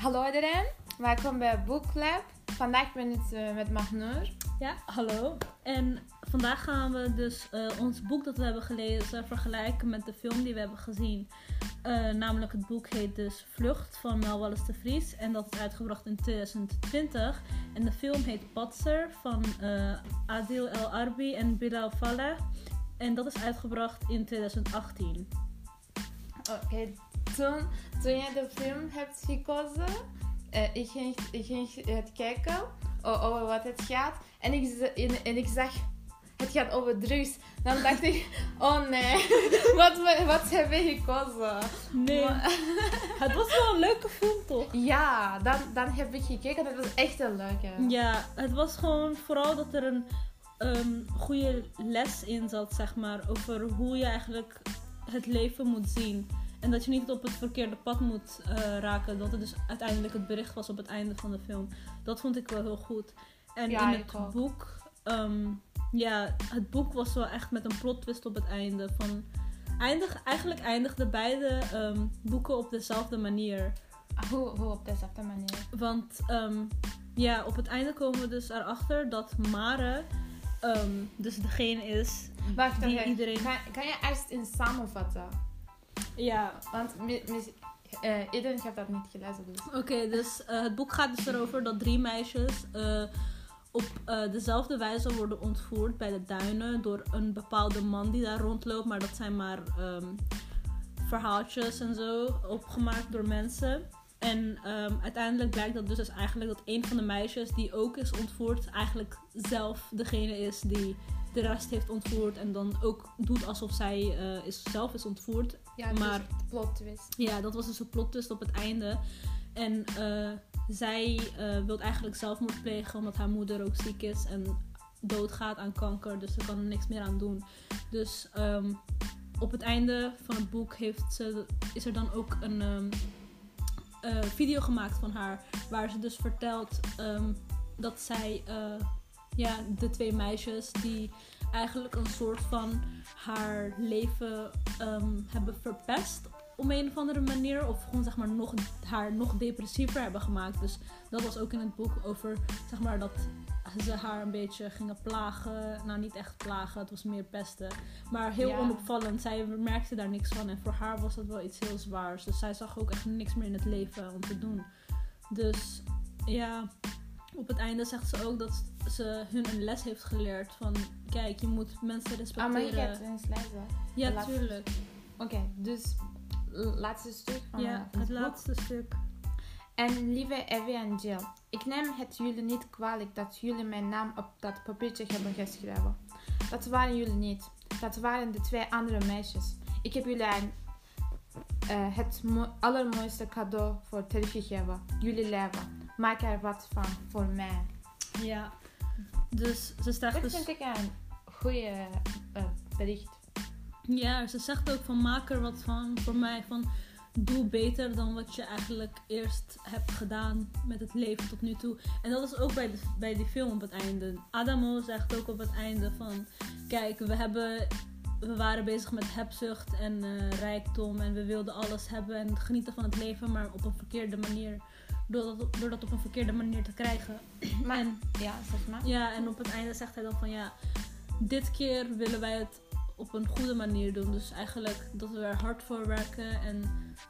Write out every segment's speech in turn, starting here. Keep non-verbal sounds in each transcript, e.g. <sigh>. hallo iedereen. Welkom bij Book Club. Vandaag ben ik eh, met Magnus. Ja, hallo. En vandaag gaan we dus eh, ons boek dat we hebben gelezen vergelijken met de film die we hebben gezien. Eh, namelijk het boek heet dus Vlucht van Mel Wallis de Vries en dat is uitgebracht in 2020. En de film heet Patser van eh, Adil El Arbi en Bilal Fallah. En dat is uitgebracht in 2018. Oké, toen, toen je de film hebt gekozen, eh, ik ging, ik ging het kijken o- over wat het gaat. En ik, z- en, en ik zag, het gaat over drugs. Dan dacht ik, <laughs> oh nee, wat, we- wat hebben we gekozen? Nee, <laughs> het was wel een leuke film toch? Ja, dan, dan heb ik gekeken. Dat was echt een leuke. Ja, het was gewoon vooral dat er een ehm, goede les in zat, zeg maar. Over hoe je eigenlijk het leven moet zien. En dat je niet op het verkeerde pad moet eh, raken. Dat het dus uiteindelijk het bericht was op het einde van de film. Dat vond ik wel heel goed. En Ja, in ik het ook. boek. ehm, ja, het boek was wel echt met een plot twist op het einde. Van, eindig, eigenlijk eindigden beide ehm, boeken op dezelfde manier. Ah, Hoe, hoe op dezelfde manier? Want ehm, ja, op het einde komen we dus erachter dat Mare ehm, dus degene is Wacht, Mm. die oké. iedereen... Kan, kan je eerst in samenvatten? Ja, Want mi- mis- eh, iedereen heeft dat niet gelezen. Dus. oké, dus eh, het boek gaat dus erover dat drie meisjes eh, op eh, dezelfde wijze worden ontvoerd bij de duinen door een bepaalde man die daar rondloopt. Maar dat zijn maar ehm, verhaaltjes en zo opgemaakt door mensen. En ehm, uiteindelijk blijkt dat dus, dus eigenlijk dat een van de meisjes die ook is ontvoerd, eigenlijk zelf degene is die de rest heeft ontvoerd. En dan ook doet alsof zij eh, is, zelf is ontvoerd. Ja, het Maar- is plot twist. Ja, dat was dus een plot twist op het einde. En eh, zij eh, wil eigenlijk zelfmoord plegen omdat haar moeder ook ziek is en doodgaat aan kanker. Dus ze kan er niks meer aan doen. Dus ehm, op het einde van het boek heeft ze, is er dan ook een ehm, eh, video gemaakt van haar. Waar ze dus vertelt ehm, dat zij eh, ja, de twee meisjes die eigenlijk een soort van haar leven ehm, hebben verpest op een of andere manier. Of gewoon zeg maar nog, haar nog depressiever hebben gemaakt. Dus dat was ook in het boek over zeg maar dat ze haar een beetje gingen plagen. Nou niet echt plagen, het was meer pesten. Maar heel Ja. onopvallend. Zij merkte daar niks van. En voor haar was dat wel iets heel zwaars. Dus zij zag ook echt niks meer in het leven om te doen. Dus ja, op het einde zegt ze ook dat ze hun een les heeft geleerd. Van kijk, je moet mensen Ah, maar je respecteren. gaat eens lezen. ja, laat- natuurlijk. Oké, dus l- laatste stuk van Ja, Oh, het het boek. laatste stuk. En lieve Evie en Jill, ik neem het jullie niet kwalijk dat jullie mijn naam op dat papiertje hebben geschreven. Dat waren jullie niet. Dat waren de twee andere meisjes. Ik heb jullie een, eh, het mo- allermooiste cadeau voor teruggegeven. Jullie leven. Maak er wat van voor mij. Ja. Dus ze zegt Dit dus... vind ik een goede bericht. <clears throat> Ja, ze zegt ook van maak er wat van voor mij. Van doe beter dan wat je eigenlijk eerst hebt gedaan met het leven tot nu toe. En dat is ook bij, de, bij die film op het einde. Adamo zegt ook op het einde van kijk, we hebben... We waren bezig met hebzucht en eh, rijkdom en we wilden alles hebben en genieten van het leven, maar op een verkeerde manier. Door dat, door dat op een verkeerde manier te krijgen. Maar, En- ja, zeg maar. Ja, en op het einde zegt hij dan van ja, dit keer willen wij het op een goede manier doen. Dus eigenlijk dat we er hard voor werken en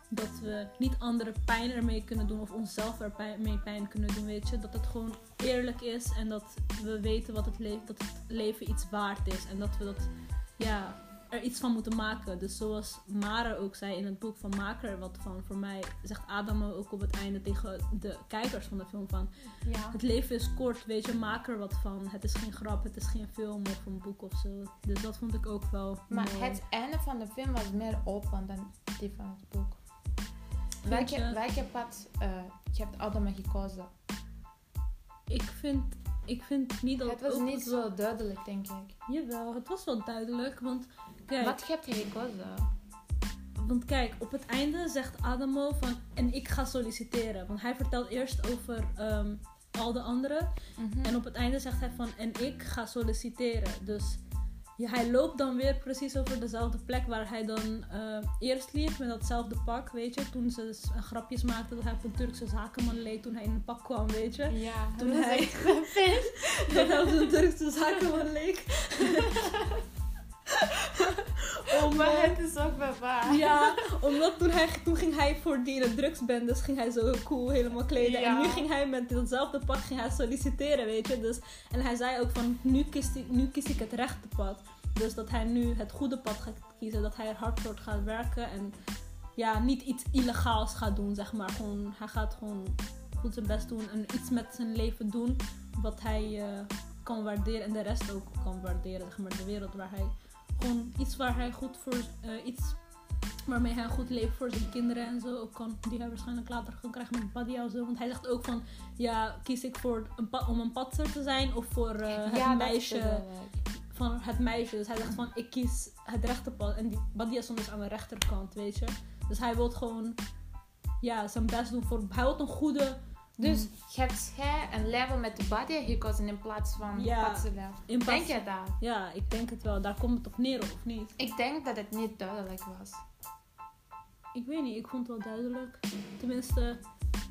dat we niet anderen pijn ermee kunnen doen of onszelf er pijn, mee pijn kunnen doen, weet je. Dat het gewoon eerlijk is en dat we weten wat het le- dat het leven iets waard is en dat we dat, ja, er iets van moeten maken. Dus zoals Mare ook zei in het boek van Maak er wat van, voor mij zegt Adamo ook op het einde tegen de kijkers van de film van Ja. het leven is kort, weet je, maak er wat van. Het is geen grap, het is geen film of een boek of zo. Dus dat vond ik ook wel. Maar mooi. het einde van de film was meer open dan die van het boek. Vind Welke, je? welke pad eh, je hebt allemaal gekozen? Ik vind, ik vind niet dat Het was ook- niet zo duidelijk, denk ik. Jawel, het was wel duidelijk, want kijk, Wat heb je gekozen? want kijk, op het einde zegt Adamo van en ik ga solliciteren, want hij vertelt eerst over ehm, al de anderen Mhm. en op het einde zegt hij van en ik ga solliciteren. Dus Ja, hij loopt dan weer precies over dezelfde plek waar hij dan eh, eerst liep met datzelfde pak, weet je. Toen ze s- eh, grapjes maakten dat hij op een Turkse zakenman leed toen hij in een pak kwam, weet je. Ja, Toen dat is hij- echt grappig. <laughs> Dat hij op een Turkse zakenman leek. Om, Maar eh, het is ook wel waar. Ja, omdat toen, hij, toen ging hij voor die drugsbendes, ging hij zo cool helemaal kleden. Ja. En nu ging hij met datzelfde pad ging hij solliciteren, weet je. Dus, en hij zei ook van, nu kies, ik- nu kies ik het rechte pad. Dus dat hij nu het goede pad gaat kiezen, dat hij er hard voor gaat werken. En ja, niet iets illegaals gaat doen, zeg maar. Gewoon, hij gaat gewoon goed zijn best doen en iets met zijn leven doen wat hij eh, kan waarderen en de rest ook kan waarderen, zeg maar. De wereld waar hij gewoon iets waar hij goed voor, eh, iets waarmee hij een goed leven voor zijn kinderen en zo ook kan. Die hij waarschijnlijk later kan krijgen met Badia of zo. Want hij zegt ook van, ja, kies ik voor een pa- om een patser te zijn of voor eh, het dat meisje bedoel ik. van het meisje. Dus hij zegt van, ik kies het rechte pad. En die Badia stond dus aan de rechterkant, weet je. Dus hij wil gewoon, ja, zijn best doen voor, hij wil een goede Dus hebt jij een level met de body gekozen in plaats van Ja. patsenlevel? impact. Denk je dat? Ja, ik denk het wel. Daar komt het op neer, of niet? Ik denk dat het niet duidelijk was. Ik weet niet, ik vond het wel duidelijk. Tenminste,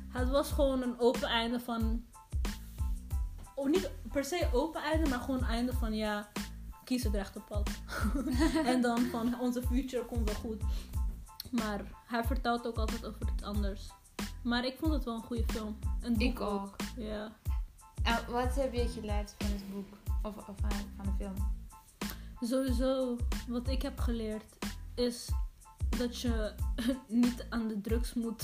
het was gewoon een open einde van. Of niet per se open einde, maar gewoon een einde van ja, kies het rechte pad. <laughs> en dan van onze future komt wel goed. Maar hij vertelt ook altijd over iets anders. Maar ik vond het wel een goede film. Een boek Ik ook. Ja. En Eh, wat heb je geleerd van het boek? Of, of eh, van, van de <laughs> film? Sowieso, wat ik heb geleerd is dat je <laughs> niet aan de drugs moet.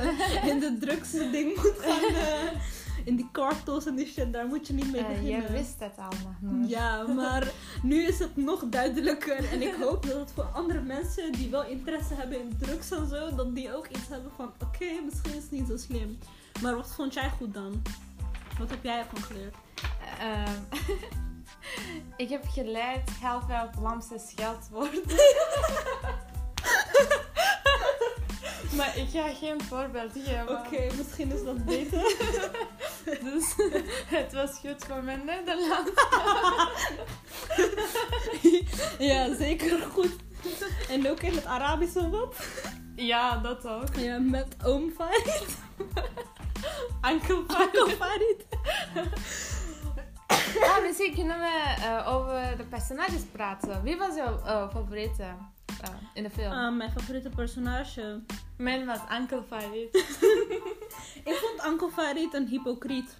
<laughs> in de drugs ding moet gaan. eh, in die cartels en die shit, daar moet je niet mee Eh, beginnen. jij wist het allemaal nog. Ja, <laughs> maar nu is het nog duidelijker. En ik hoop dat het voor andere mensen die wel interesse hebben in drugs en zo, dat die ook iets hebben van: oké, misschien is het niet zo slim. Maar wat vond jij goed dan? Wat heb jij ervan geleerd? Ehm, <laughs> ik heb geleerd heel veel Vlaamse <laughs> scheldwoorden. maar ik ga geen voorbeeld geven. Oké, misschien is dat beter. Dus het was goed voor mijn Nederlands. <laughs> Ja, zeker goed. <laughs> En ook in het Arabische wat? Ja, dat ook. Ja, met oom Farid. <laughs> Uncle Oom Farid. Ja, Ah, misschien kunnen we eh, over de personages praten. Wie was jouw eh, favoriete eh, in de film? Ah, mijn favoriete personage. Mijn was Uncle Farid. Ik vond Uncle Farid een hypocriet.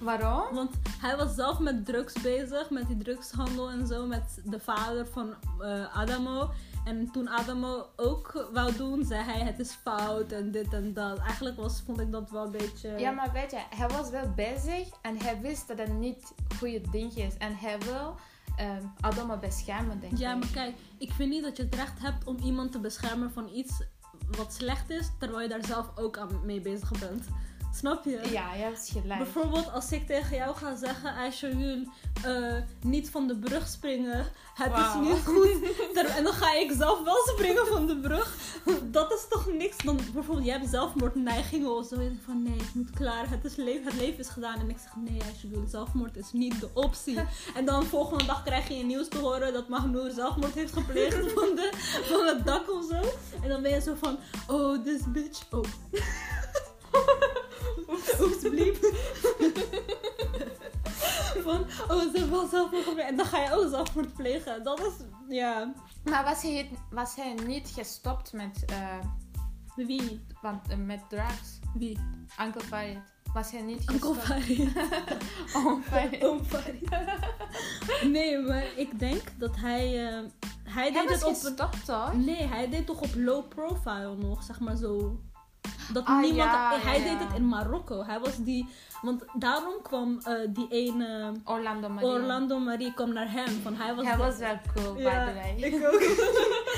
Waarom? Want hij was zelf met drugs bezig, met die drugshandel en zo, met de vader van eh, Adamo. En toen Adamo ook wou doen, zei hij het is fout en dit en dat. Eigenlijk was, vond ik dat wel een beetje... Ja, maar weet je, hij was wel bezig en hij wist dat het niet het goede ding is. En hij wil ehm Adama beschermen, denk ik. Ja, maar kijk, ik vind niet dat je het recht hebt om iemand te beschermen van iets wat slecht is, terwijl je daar zelf ook aan mee bezig bent. Snap je? Ja, je hebt gelijk. Bijvoorbeeld als ik tegen jou ga zeggen, Aishayul, eh, niet van de brug springen. Het Wauw. is niet goed. Ter- en dan ga ik zelf wel springen van de brug. Dat is toch niks. Dan bijvoorbeeld, jij hebt zelfmoordneigingen of zo. En je denkt van nee, ik moet klaar. Het, is le- het leven is gedaan. En ik zeg nee, Aishayul, zelfmoord is niet de optie. En dan volgende dag krijg je in het nieuws te horen dat Mahmoud zelfmoord heeft gepleegd van, de, van het dak of zo. En dan ben je zo van, oh, this bitch. Oh. Oeps, bliep. van, oh, ze heeft wel zelfmoord gepleegd. En dan ga je ook zelfmoord plegen. Dat is, ja. Maar was hij, was hij niet gestopt met, eh, Wie? want, eh, met drugs? Wie? Uncle Farid. Was hij niet Uncle Oh, gestopt? Oh, Farid. Uncle Farid. Oom Farid. Nee, maar ik denk dat hij... eh, hij Hij deed was het op een- gestopt, toch? Nee, hij deed toch op low profile nog, zeg maar zo. Dat Ah, niemand. ja, hij ja, ja. deed het in Marokko. Hij was die. Want daarom kwam eh, die ene. Orlando Maria. Orlando Marie kwam naar hem. Van hij was. Hij de- was wel cool, Ja, by the way. Ik <laughs> ook.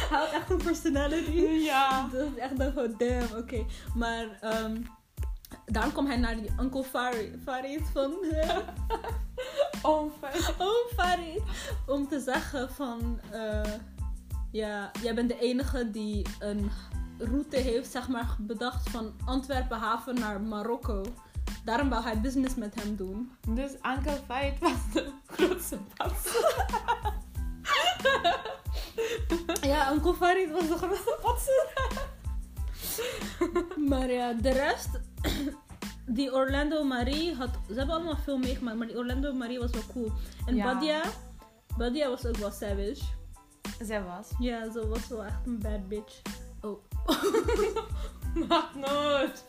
hij had echt een personality. Ja. Dat is echt dan gewoon damn, oké. Maar ehm, daarom kwam hij naar die Uncle Farid, Farid van. <laughs> eh, Onfijn. Oh, Farid. Om te zeggen van... eh, ja, jij bent de enige die een route heeft, zeg maar, bedacht van Antwerpen haven naar Marokko. Daarom wou hij business met hem doen. Dus Uncle Farid was de grootste pas. ja, Uncle Farid was de grootste patser. maar ja, de rest... <clears throat> Die Orlando Marie had... Ze hebben allemaal veel meegemaakt, maar die Orlando Marie was wel cool. En Ja. Badia... Badia was ook wel savage. Zij was. Ja, ze was wel echt een bad bitch. <laughs> Oh. Maakt <laughs> nooit.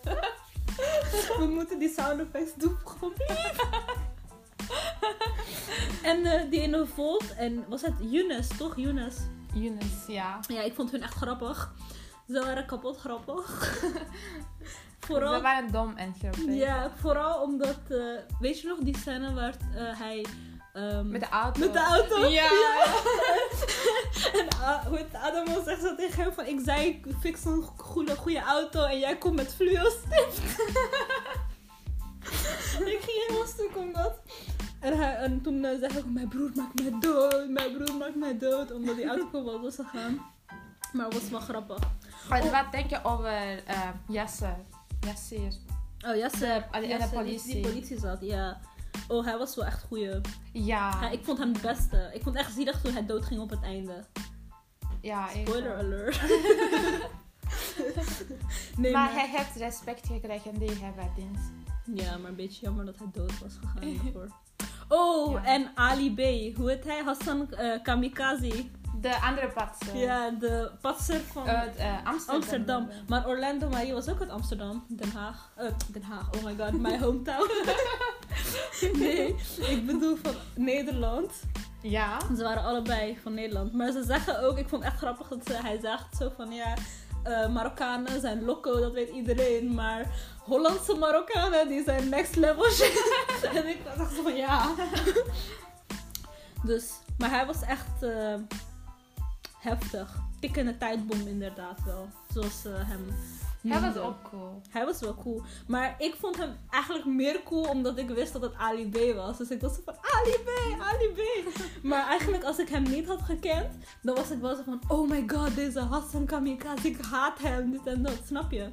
We moeten die sound effects doen, gewoon please. <laughs> en eh, die in een volt, en was het Younes, toch? Younes. Yunus, ja. Ja, ik vond hun echt grappig. Ze waren kapot grappig. <laughs> Ze vooral, waren dom en grappig. ja, vooral omdat, eh, weet je nog die scène waar eh, hij... ehm, Met de auto. met de auto? Ja. En A- Ah, hoe het Adamo zegt zo tegen hem van... Ik zei, ik fix een goede, goede auto en jij komt met fluostift. <laughs> ik ging helemaal stuk om dat. En, hij, en toen eh, zei hij ook, mijn broer maakt mij dood, mijn broer maakt mij dood. Omdat die auto kapot was gegaan. Maar het was wel grappig. Maar Wat denk je over eh Jesse? Jesse hier. Oh, ja, ze... De- de- ja, de ze- die- politie. Die, politie zat, ja. Ah. Oh, hij was wel echt goeie. Ja. Ja, ik vond hem de beste. Ik vond het echt zielig toen hij doodging op het einde. ja ik- Spoiler <laughs> alert. nee, maar hij heeft respect gekregen die hij verdient. Ja, maar een beetje jammer dat hij dood was gegaan daarvoor. Oh, Ja. en Ali B. Hoe heet hij? Hassan eh, Kamikaze. De andere patser. Ja, de patser van Uit eh, Amsterdam. Amsterdam. Maar Orlando Marie was ook uit Amsterdam. Den Haag. Eh, Den Haag, oh my god, my hometown. nee, ik bedoel van Nederland. Ja. Ze waren allebei van Nederland. Maar ze zeggen ook, ik vond het echt grappig dat ze, hij zegt zo van ja, eh, Marokkanen zijn loco, dat weet iedereen. Maar Hollandse Marokkanen, die zijn next level <laughs> shit. en ik was echt zo van ja. dus, maar hij was echt eh, heftig. Tikkende tijdbom inderdaad wel. Zoals ze hem Hij was noemden. ook cool. Hij was wel cool. Maar ik vond hem eigenlijk meer cool omdat ik wist dat het Ali B was. Dus ik was zo van Ali B, Ali B. Maar eigenlijk als ik hem niet had gekend, dan was ik wel zo van... Oh my god, deze Hassan Kamikaze, ik haat hem, dit en dat. Snap je?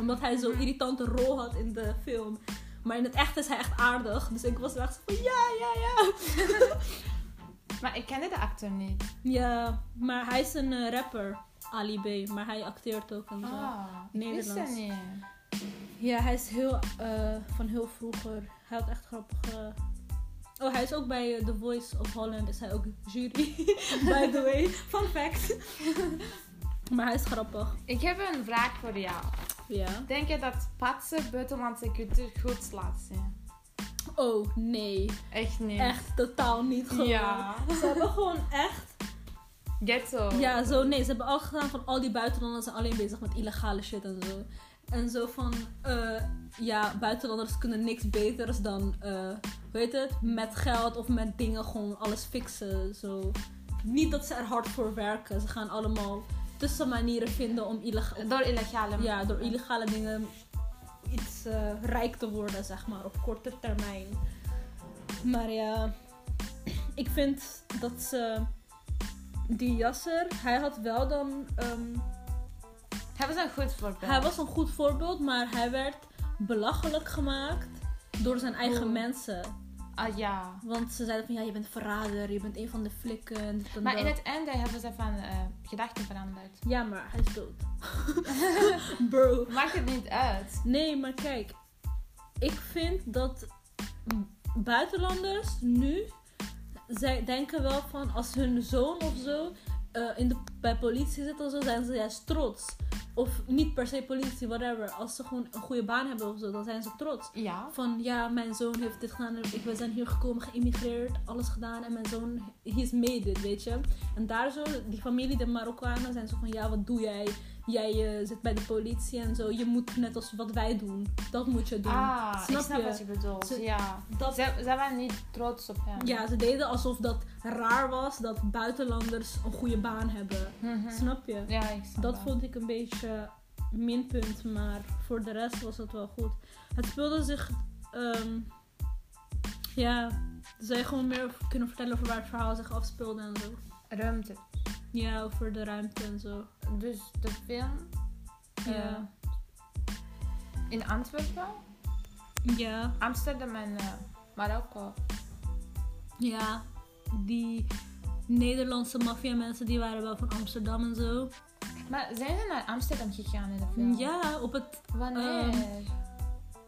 Omdat hij zo'n irritante rol had in de film. Maar in het echt is hij echt aardig. Dus ik was echt zo van ja, ja, ja. Maar ik kende de acteur niet. Ja, maar hij is een eh, rapper, Ali B. Maar hij acteert ook en zo. Ah, Nederlands. Ik wist het niet. Ja, hij is heel, eh, van heel vroeger. Hij had echt grappige... Oh, hij is ook bij eh, The Voice of Holland. Is hij ook jury, <laughs> by the way. Fun fact. <laughs> maar hij is grappig. Ik heb een vraag voor jou. Ja. Denk je dat patsen buitenlandse cultuur goed laat zien? Oh, nee. Echt niet. Echt totaal niet gewoon. <laughs> Ja. Ze hebben gewoon echt... Ghetto. Ja, zo nee. Ze hebben al gedaan van al die buitenlanders zijn alleen bezig met illegale shit en zo. En zo van, eh, ja, buitenlanders kunnen niks beters dan, eh weet het, met geld of met dingen gewoon alles fixen. Zo. Niet dat ze er hard voor werken. Ze gaan allemaal tussen manieren vinden om illega- Door illegale ja, door illegale dingen iets eh, rijk te worden, zeg maar, op korte termijn. Maar ja, ik vind dat ze. Die Jasser, hij had wel dan. ehm, Hij was een goed voorbeeld. hij was een goed voorbeeld, maar hij werd belachelijk gemaakt door zijn eigen Oh. mensen. Ah ja. Want ze zeiden van ja, je bent verrader, je bent een van de flikken. en dit en Maar in dat. het einde hebben ze van eh, gedachten veranderd. Ja, maar hij <laughs> is dood. Bro. Maakt het niet uit. Nee, maar kijk. Ik vind dat buitenlanders nu... Zij denken wel van als hun zoon of zo eh, in de, bij politie zit of zo, zijn ze juist trots. Of niet per se politie, whatever. Als ze gewoon een goede baan hebben of zo, dan zijn ze trots. Ja. Van ja, mijn zoon heeft dit gedaan. en Ik, we zijn hier gekomen, geïmmigreerd, alles gedaan. En mijn zoon, he is made it, weet je. En daar zo, die familie, de Marokkanen, zijn zo van ja, wat doe jij? Jij eh, zit bij de politie en zo. Je moet net als wat wij doen. Dat moet je doen. Ah, Snap ik snap je? wat je bedoelt. Ze- ja. Dat, Ze, ze waren niet trots op hem. ja, ze deden alsof dat raar was dat buitenlanders een goede baan hebben. Mhm. Snap je? Ja, ik snap Dat het. vond ik een beetje minpunt, maar voor de rest was het wel goed. Het speelde zich. ehm, ja, zou je gewoon meer over- kunnen vertellen over waar het verhaal zich afspeelde en zo? Ruimte. Ja, over de ruimte en zo. Dus de film eh, Ja. in Antwerpen, Ja, Amsterdam en eh, Marokko. ja. Die Nederlandse maffiamensen die waren wel van Amsterdam en zo. Maar zijn ze naar Amsterdam gegaan in de film? Ja, op het. Wanneer?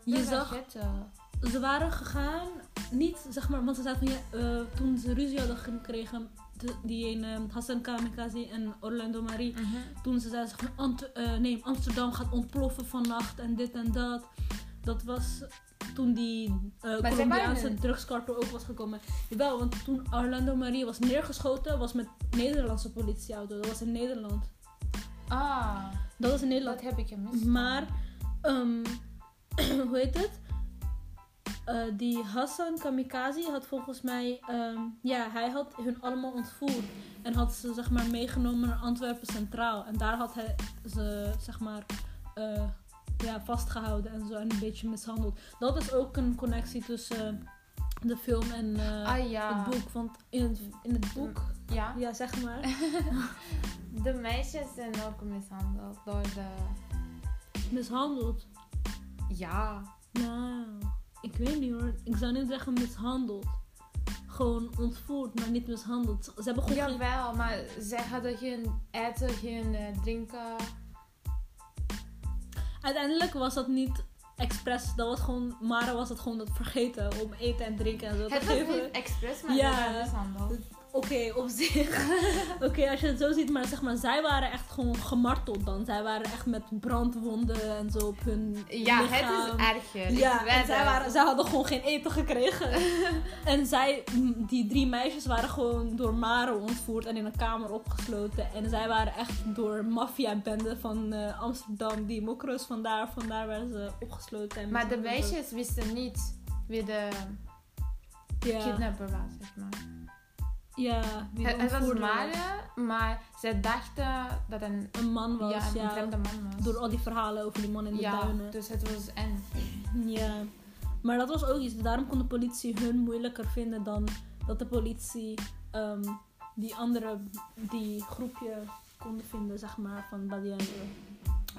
Je Dat zag, weet het, eh. ze waren gegaan, niet zeg maar, want ze zaten van ja, eh, toen ze ruzie hadden gekregen, de- die een eh, Hassan Kamikaze en Orlando Marie. Mhm. Toen ze zeiden ze van Ant- eh, nee, Amsterdam gaat ontploffen vannacht en dit en dat. Dat was toen die eh zij Colombiaanse waren- drugskartel ook was gekomen. Jawel, want toen Orlando Marie was neergeschoten, was met Nederlandse politieauto. Dat was in Nederland. Ah, Dat was in Nederland. dat heb ik gemist. Maar, ehm, <clears throat> hoe heet het? Eh, die Hassan Kamikaze had volgens mij, ehm, ja, hij had hun allemaal ontvoerd. En had ze, zeg maar, meegenomen naar Antwerpen Centraal. En daar had hij ze, zeg maar, eh, ja, vastgehouden en zo. En een beetje mishandeld. Dat is ook een connectie tussen de film en eh, ah ja. het boek. Want in het, in het boek, Ja. ja, zeg maar. De meisjes zijn ook mishandeld door de. mishandeld. Ja. Nou, ik weet niet hoor. Ik zou niet zeggen mishandeld. Gewoon ontvoerd, maar niet mishandeld. Ze hebben gewoon geen... Jawel, maar zij hadden geen eten, geen eh, drinken. Uiteindelijk was dat niet expres. Dat was gewoon... Mara was het gewoon dat vergeten om eten en drinken en zo te Het was geven. niet expres, maar Ja. ze waren mishandeld. Oké, op <laughs> zich. Oké, als je het zo ziet. Maar zeg maar, zij waren echt gewoon gemarteld dan. Zij waren echt met brandwonden en zo op hun Ja, lichaam. het is erger. Ik Ja, weet en zij, het. waren, zij hadden gewoon geen eten <laughs> gekregen. en zij, m, die drie meisjes, waren gewoon door Maro ontvoerd en in een kamer opgesloten. En zij waren echt door maffiabenden van eh, Amsterdam, die mokro's vandaar, vandaar waren ze opgesloten. En Maar de mishandeld. meisjes wisten niet wie de Ja, kidnapper was, zeg maar. ja wie de Het, het was ontvoerder Mare, maar zij dachten dat een, Een man was, ja, ja. een vreemde man was. Door al die verhalen over die man in de ja, duinen. dus het was en. Ja, maar dat was ook iets. Daarom kon de politie hun moeilijker vinden dan dat de politie ehm, die andere, die groepje konden vinden, zeg maar, van Badiaandre.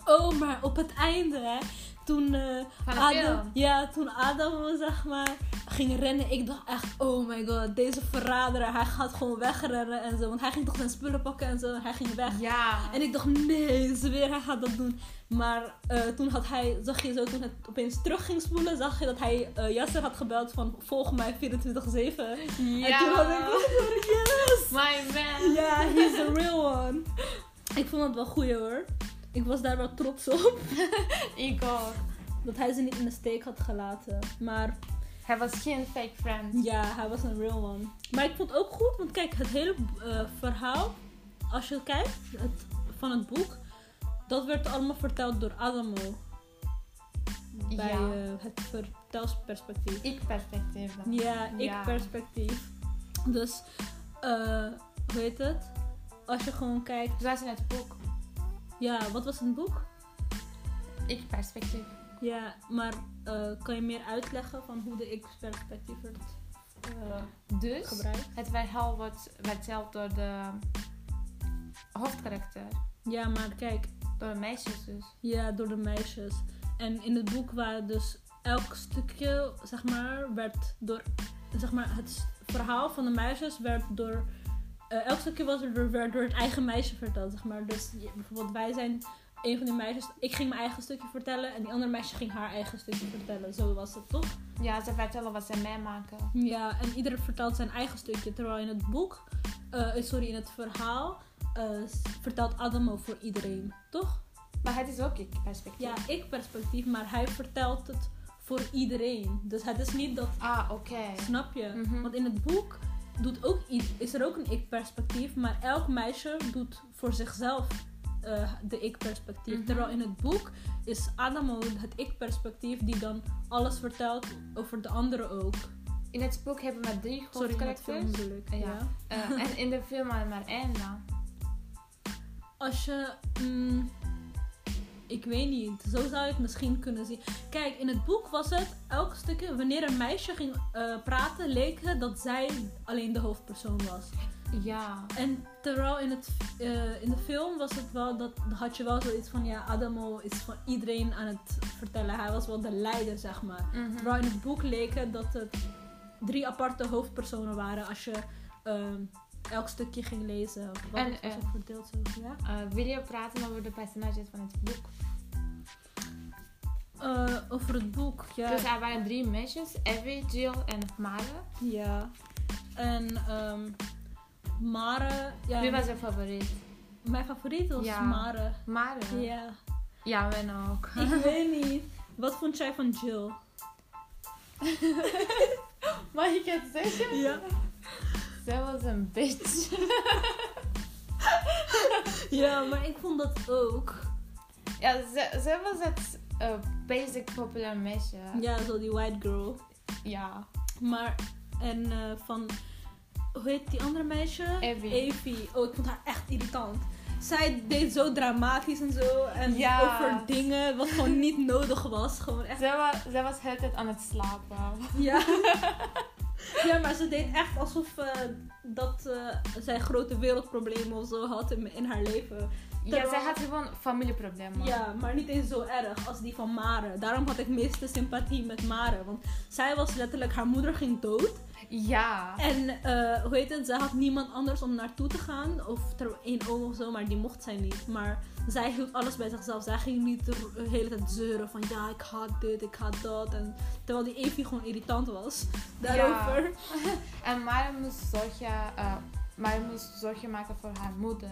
Oh, maar op het einde, hè, toen, eh, Van de Adam, film. ja, toen Adam, zeg maar, ging rennen, ik dacht echt, oh my god, deze verrader, hij gaat gewoon wegrennen en zo. Want hij ging toch zijn spullen pakken en zo, en hij ging weg. Ja. <laughs> En ik dacht, nee, zweer, hij gaat dat doen. Maar eh, toen had hij, zag je zo, toen het opeens terug ging spoelen, zag je dat hij eh Yasser had gebeld van volg mij 24-7. En toen had ik, yes! My man. Ja, he's the real one. Ik vond dat wel goed hoor. Ik was daar wel trots op. <laughs> Ik ook. Dat hij ze niet in de steek had gelaten. Maar Hij was geen fake friend. ja, hij was een real one. Maar ik vond het ook goed, want kijk, het hele eh, verhaal, als je kijkt het, van het boek, dat werd allemaal verteld door Adamo. bij ja. eh, het vertelsperspectief. Ik perspectief dan. Ja, ik Ja. perspectief. Dus, eh, hoe heet het? Als je gewoon kijkt, Zoals in het boek. ja, wat was het boek? Ik perspectief. Ja, maar eh, kan je meer uitleggen van hoe de ik-perspectief werd eh, Dus gebruikt? het verhaal wordt verteld door de hoofdkarakter. Ja, maar kijk, Door de meisjes dus. ja, door de meisjes. En in het boek waren dus elk stukje, zeg maar, werd door, zeg maar, het s- verhaal van de meisjes werd door, eh, elk stukje was er door, werd door het eigen meisje verteld, zeg maar. Dus je- bijvoorbeeld wij zijn een van die meisjes, ik ging mijn eigen stukje vertellen en die andere meisje ging haar eigen stukje vertellen. Zo was het toch? Ja, ze vertellen wat ze meemaken. Ja, en ieder vertelt zijn eigen stukje. Terwijl in het boek, eh, sorry, in het verhaal, eh, s- vertelt Adamo voor iedereen, toch? Maar het is ook ik perspectief. ja, ik-perspectief, maar hij vertelt het voor iedereen. Dus het is niet dat, Ah, oké. snap je? Mhm. Want in het boek doet ook i- is er ook een ik-perspectief, maar elk meisje doet voor zichzelf eh, de ik-perspectief. Mhm. Terwijl in het boek is Adamo het ik-perspectief die dan alles vertelt over de anderen ook. In het boek hebben we drie Sorry, in het film dus. hoofdkarakters. bedoel ik. Ja. ja. Eh, en in de film maar maar één dan. als je. mm, ik weet niet. Zo zou je het misschien kunnen zien. Kijk, in het boek was het elk stukje. Wanneer een meisje ging eh, praten, leek het dat zij alleen de hoofdpersoon was. Ja. En terwijl in, het, eh, in de film was het wel dat. had je wel zoiets van. Ja, Adamo is van iedereen aan het vertellen. Hij was wel de leider, zeg maar. Mhm. Terwijl in het boek leek het dat het drie aparte hoofdpersonen waren. Als je ehm, elk stukje ging lezen. Wat En, en, was eh, ook verdeeld zo, ja. Eh, wil je praten over de personages van het boek? Eh, over het boek, ja. Dus er waren drie meisjes, Evie, Jill en Mare. ja. En ehm Mare, ja, Wie was je favoriet? mijn favoriet was Ja. Mare. Mare? Ja, Ja, men ook. ik <laughs> weet niet. Wat vond jij van Jill? Mag ik het zeggen? Ja, Zij was een bitch. ja maar ik vond dat ook. Ja, zij, zij was het eh, basic populair meisje. Ja, zo die white girl. Ja. Maar, en eh, van, hoe heet die andere meisje? Evie. Evie. Oh, ik vond haar echt irritant. Zij deed zo dramatisch en zo. En Ja. over dingen wat gewoon niet nodig was. Gewoon echt. Zij was, zij was heel de tijd aan het slapen. Ja. <laughs> ja, maar ze deed echt alsof eh, dat eh, zij grote wereldproblemen of zo had in, in haar leven. Ja, Terwijl- zij had gewoon familieproblemen. Ja, maar niet eens zo erg als die van Mare. Daarom had ik meeste sympathie met Mare. Want zij was letterlijk, haar moeder ging dood. Ja. En eh, hoe heet het, zij had niemand anders om naartoe te gaan. Of ter één oom of zo, maar die mocht zij niet. Maar zij hield alles bij zichzelf. Zij ging niet de hele tijd zeuren van ja, ik haat dit, ik haat dat. En, terwijl die Evie gewoon irritant was daarover. En Mare moest zorgen, eh, Mare moest zorgen maken voor haar moeder.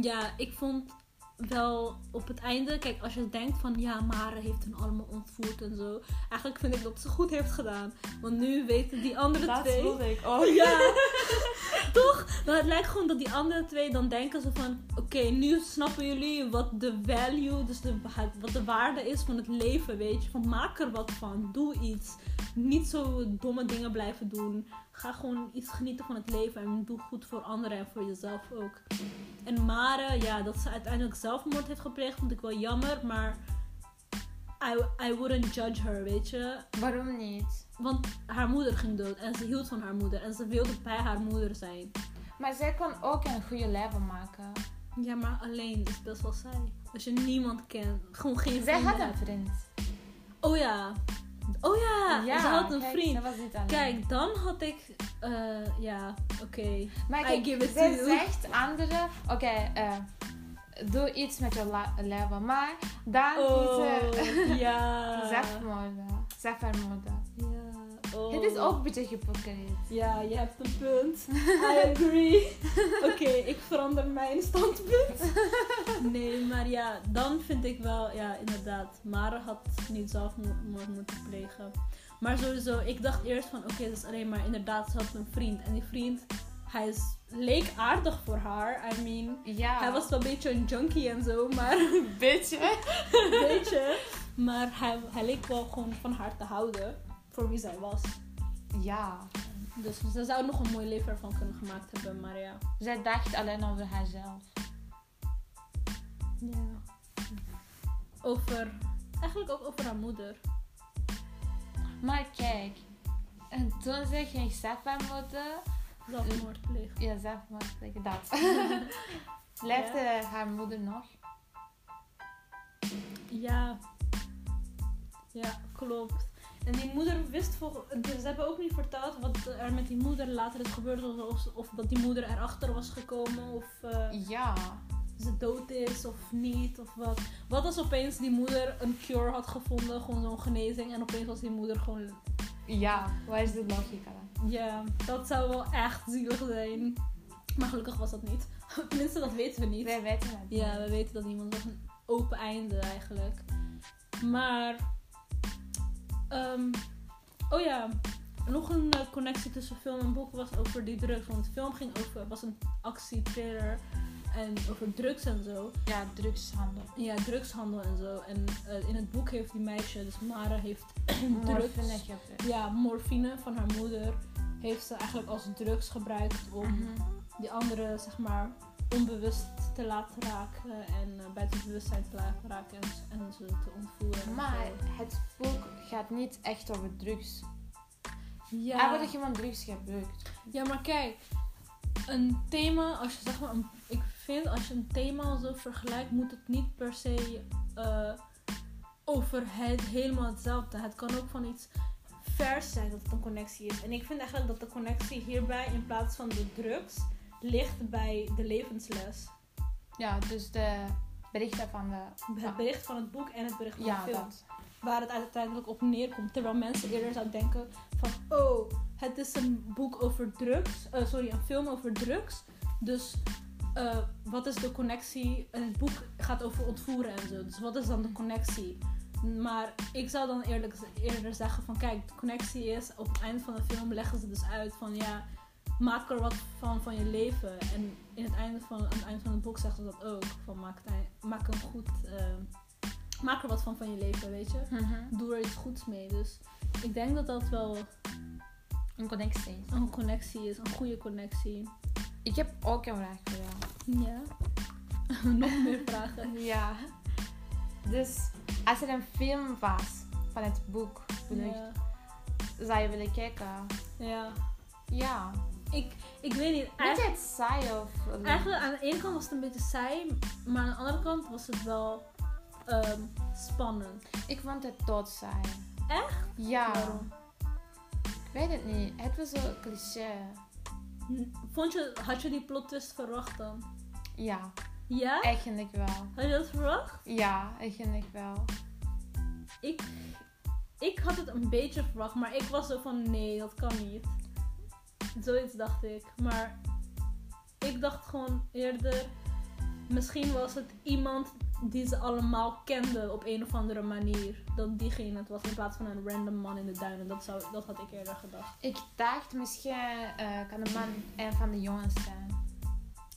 Ja, ik vond wel op het einde, kijk, als je denkt van ja, Mare heeft hun allemaal ontvoerd en zo. Eigenlijk vind ik dat ze goed heeft gedaan. Want nu weten die andere Dat twee. voelde ik ook. Oh ja! <laughs> Toch? Maar het lijkt gewoon dat die andere twee dan denken zo van... Oké, nu snappen jullie wat de value, dus de, wa- wat de waarde is van het leven, weet je. Van maak er wat van, doe iets. Niet zo domme dingen blijven doen. Ga gewoon iets genieten van het leven en doe goed voor anderen en voor jezelf ook. En Mare, ja, dat ze uiteindelijk zelfmoord heeft gepleegd, vond ik wel jammer, maar... I, I wouldn't judge her, weet je. Waarom niet? Want haar moeder ging dood en ze hield van haar moeder en ze wilde bij haar moeder zijn. Maar zij kon ook een goede leven maken. Ja, maar alleen is best wel saai. Als je niemand kent, gewoon geen Zij vrienden had een hebt. vriend. Oh ja. Oh ja, ze had een kijk, vriend. Zij was niet alleen. Kijk, dan had ik... eh, ja, oké. maar I give it zij to you. zegt anderen, oké, eh, doe iets met je la- leven, maar dan niet eh, Oh, <laughs> ja. zelfmoorden, zelfvermoorden. Ja. Oh. Het is ook een beetje hypocriet. Ja, je hebt een <laughs> punt. I agree. Oké, ik verander mijn standpunt. Nee, maar ja, dan vind ik wel, ja, inderdaad. Mare had niet zelfmoord moeten plegen. Maar sowieso, ik dacht eerst van, oké, dat is alleen maar inderdaad, ze had een vriend. En die vriend, hij is, leek aardig voor haar. I mean, Ja. hij was wel een beetje een junkie en zo, maar <laughs> een beetje. weet je. Maar hij, hij leek wel gewoon van haar te houden, voor wie zij was. Ja. Dus ze zou nog een mooi leven ervan kunnen gemaakt hebben, maar ja. Zij dacht alleen over haarzelf. Over, eigenlijk ook over haar moeder. Maar kijk, en toen ze ging zelfvermoorden, Zelfmoord pleegt. ja, zelfmoord, like <laughs> dat. Leefde haar moeder nog? Ja. Ja, klopt. En die moeder wist volgens... Ze hebben ook niet verteld wat er met die moeder later is gebeurd. Of, of dat die moeder erachter was gekomen. Of eh, Ja. ze dood is of niet. Of wat. Wat als opeens die moeder een cure had gevonden. Gewoon zo'n genezing. En opeens was die moeder gewoon... Ja, waar is de logica dan? Ja, dat zou wel echt zielig zijn. Maar gelukkig was dat niet. <laughs> Tenminste, dat weten we niet. Wij weten het. Ja, we weten dat niemand was een open einde eigenlijk. Maar. ehm, oh ja, nog een eh, connectie tussen film en boek was over die drugs. Want de film ging over, was een actie-thriller en over drugs en zo. Ja, drugshandel. Ja, drugshandel en zo. En eh, in het boek heeft die meisje, dus Mara, heeft <clears throat> Morfine drugs. gebruik. Ja, morfine van haar moeder heeft ze eigenlijk als drugs gebruikt om Mhm. die andere zeg maar onbewust te laten raken en eh, buiten het bewustzijn te laten raken en, z- en ze te ontvoeren. en Maar zo. het boek gaat niet echt over drugs. Ah, Er ja, worden gewoon drugs gebruikt. ja, maar kijk, een thema, als je zeg maar, een- ik vind als je een thema al zo vergelijkt, moet het niet per se eh, over het helemaal hetzelfde. Het kan ook van iets vers zijn dat het een connectie is. En ik vind eigenlijk dat de connectie hierbij in plaats van de drugs ligt bij de levensles. Ja, dus de berichten van de... Het bericht van het boek en het bericht van Ja, de film. dat. Waar het uiteindelijk op neerkomt. Terwijl mensen eerder zouden denken van... Oh, het is een boek over drugs. eh, sorry, een film over drugs. Dus eh, wat is de connectie? En het boek gaat over ontvoeren en zo. Dus wat is dan de connectie? Maar ik zou dan eerlijk, eerder zeggen van... Kijk, de connectie is... Op het einde van de film leggen ze dus uit van... Ja, maak er wat van van je leven. En in het einde van, aan het einde van het boek zeggen ze dat ook. Van maak, het ei- maak een goed... eh, maak er wat van van je leven, weet je. Mhm. Doe er iets goeds mee. Dus ik denk dat dat wel Een connectie. een connectie is. Een goede connectie. Ik heb ook een vraag voor jou. Ja. <laughs> Nog meer vragen. Ja. Dus als er een film was van het boek, bedoel ik, Ja. zou je willen kijken? ja. Ja. Ik, ik weet niet. Niet Eigen- het saai of... Eigenlijk aan de ene kant was het een beetje saai. Maar aan de andere kant was het wel ehm, spannend. Ik vond het doodsaai. Echt? Ja. Waarom? Ik weet het niet. Het was zo cliché. Vond je, had je die plot twist verwacht dan? Ja, Ja? eigenlijk wel. Had je dat verwacht? Ja, eigenlijk wel. Ik, ik had het een beetje verwacht, maar ik was zo van nee, dat kan niet. Zoiets dacht ik. Maar ik dacht gewoon eerder, misschien was het iemand die ze allemaal kenden op een of andere manier. Dat diegene het was in plaats van een random man in de duinen. Dat, zou, dat had ik eerder gedacht. Ik dacht misschien eh, kan de man een van de jongens zijn.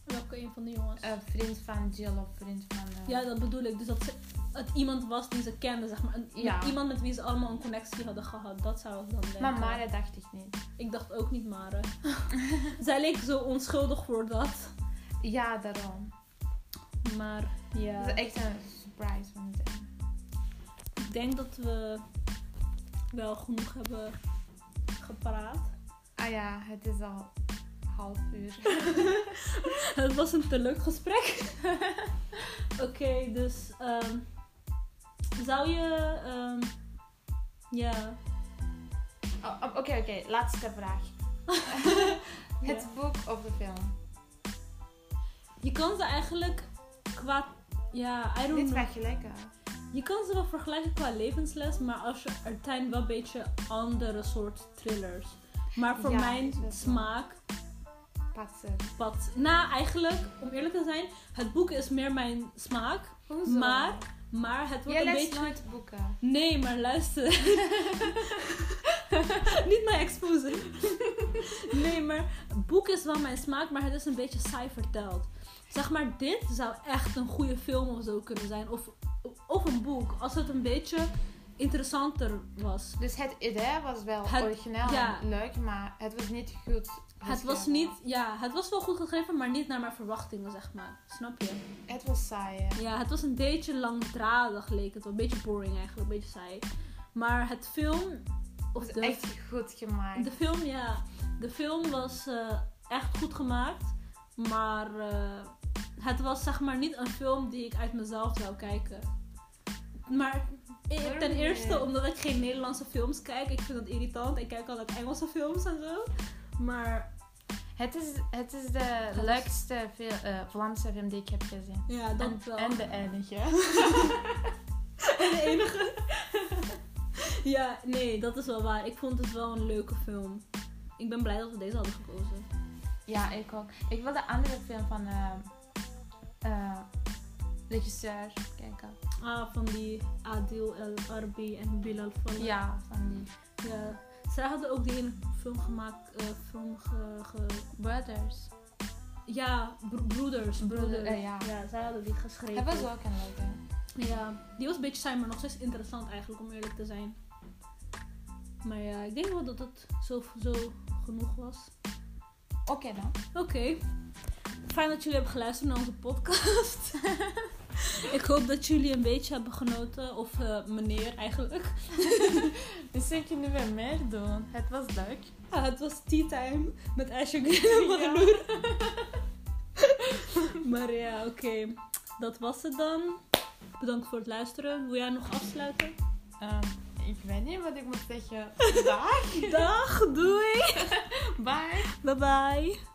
Welke een van de jongens? Een vriend van Jill of vriend van... eh, Ja, dat bedoel ik. Dus dat ze- het iemand was die ze kenden, zeg maar. Een- Ja. Iemand met wie ze allemaal een connectie hadden gehad. Dat zou ik dan denken. Maar Mare dacht ik niet. Ik dacht ook niet Mare. <laughs> Zij leek zo onschuldig voor dat. Ja, daarom. Maar Dat ja. is echt een surprise van het einde. Ik denk dat we wel genoeg hebben gepraat. <laughs> Ah ja, het is al half uur. Het was een te leuk gesprek. <laughs> Oké, dus ehm, zou je. ehm, <laughs> ja. <laughs> <laughs> Oh, Oké, oké, laatste vraag. Het Ja. boek of de film? Je kan ze eigenlijk qua. Ja, I don't Niet know. vergelijken. Je kan ze wel vergelijken qua levensles, maar als je, er zijn wel een beetje andere soort thrillers. Maar voor Ja, mijn is wel zo. smaak, Patser. wat. Nou, eigenlijk, om eerlijk te zijn, het boek is meer mijn smaak. Hoezo? Maar- Maar het wordt Jij een leest beetje. nooit boeken. Nee, maar <laughs> luister. Niet mij exposen. nee, maar het boek is wel mijn smaak, maar het is een beetje saai verteld. Zeg maar, dit zou echt een goede film of zo kunnen zijn. Of, of een boek, als het een beetje interessanter was. Dus het idee was wel Het- origineel ja. en leuk, maar het was niet goed. Het was geschreven. niet, ja, het was wel goed gegeven, maar niet naar mijn verwachtingen, zeg maar. Snap je? Het was saai. hè. Ja, het was een beetje langdradig, leek het wel. Een beetje boring eigenlijk, een beetje saai. Maar het film, of het de was echt goed gemaakt. De film, ja. De film was eh, echt goed gemaakt. Maar eh, het was zeg maar niet een film die ik uit mezelf zou kijken. Maar eh, Waarom ten niet? eerste omdat ik geen Nederlandse films kijk. Ik vind dat irritant. Ik kijk altijd Engelse films en zo. Maar Het is, het is de was- leukste fil- eh, Vlaamse film die ik heb gezien. ja, dat en, wel. en de enige. <laughs> En de enige. <laughs> ja, nee, dat is wel waar. Ik vond het wel een leuke film. Ik ben blij dat we deze hadden gekozen. Ja, ik ook. Ik wil de andere film van eh eh, regisseur kijken. Ah, van die Adil El Arbi en Bilal Fallah. Ja, van die. Ja, zij hadden ook die ene film gemaakt, eh, film ge, ge- Brothers. Ja, bro- Broeders, Broeders. eh, ja. zij hadden die geschreven. Het was ook een leuke. Ja, die was een beetje saai, maar nog steeds interessant eigenlijk, om eerlijk te zijn. Maar ja, ik denk wel dat het zo, zo genoeg was. Oké dan. Oké. Fijn dat jullie hebben geluisterd naar onze podcast. <laughs> ik hoop dat jullie een beetje hebben genoten. Of eh, meneer eigenlijk. Misschien kunnen we meer doen. Het was leuk. Ah, het was tea time met <laughs> Asher Ja. Greenwood. <laughs> maar ja, oké. Dat was het dan. Bedankt voor het luisteren. Wil jij nog afsluiten? Ehm, ik weet niet wat ik moet zeggen. <laughs> Dag. <laughs> Dag, doei. Bye. Bye bye.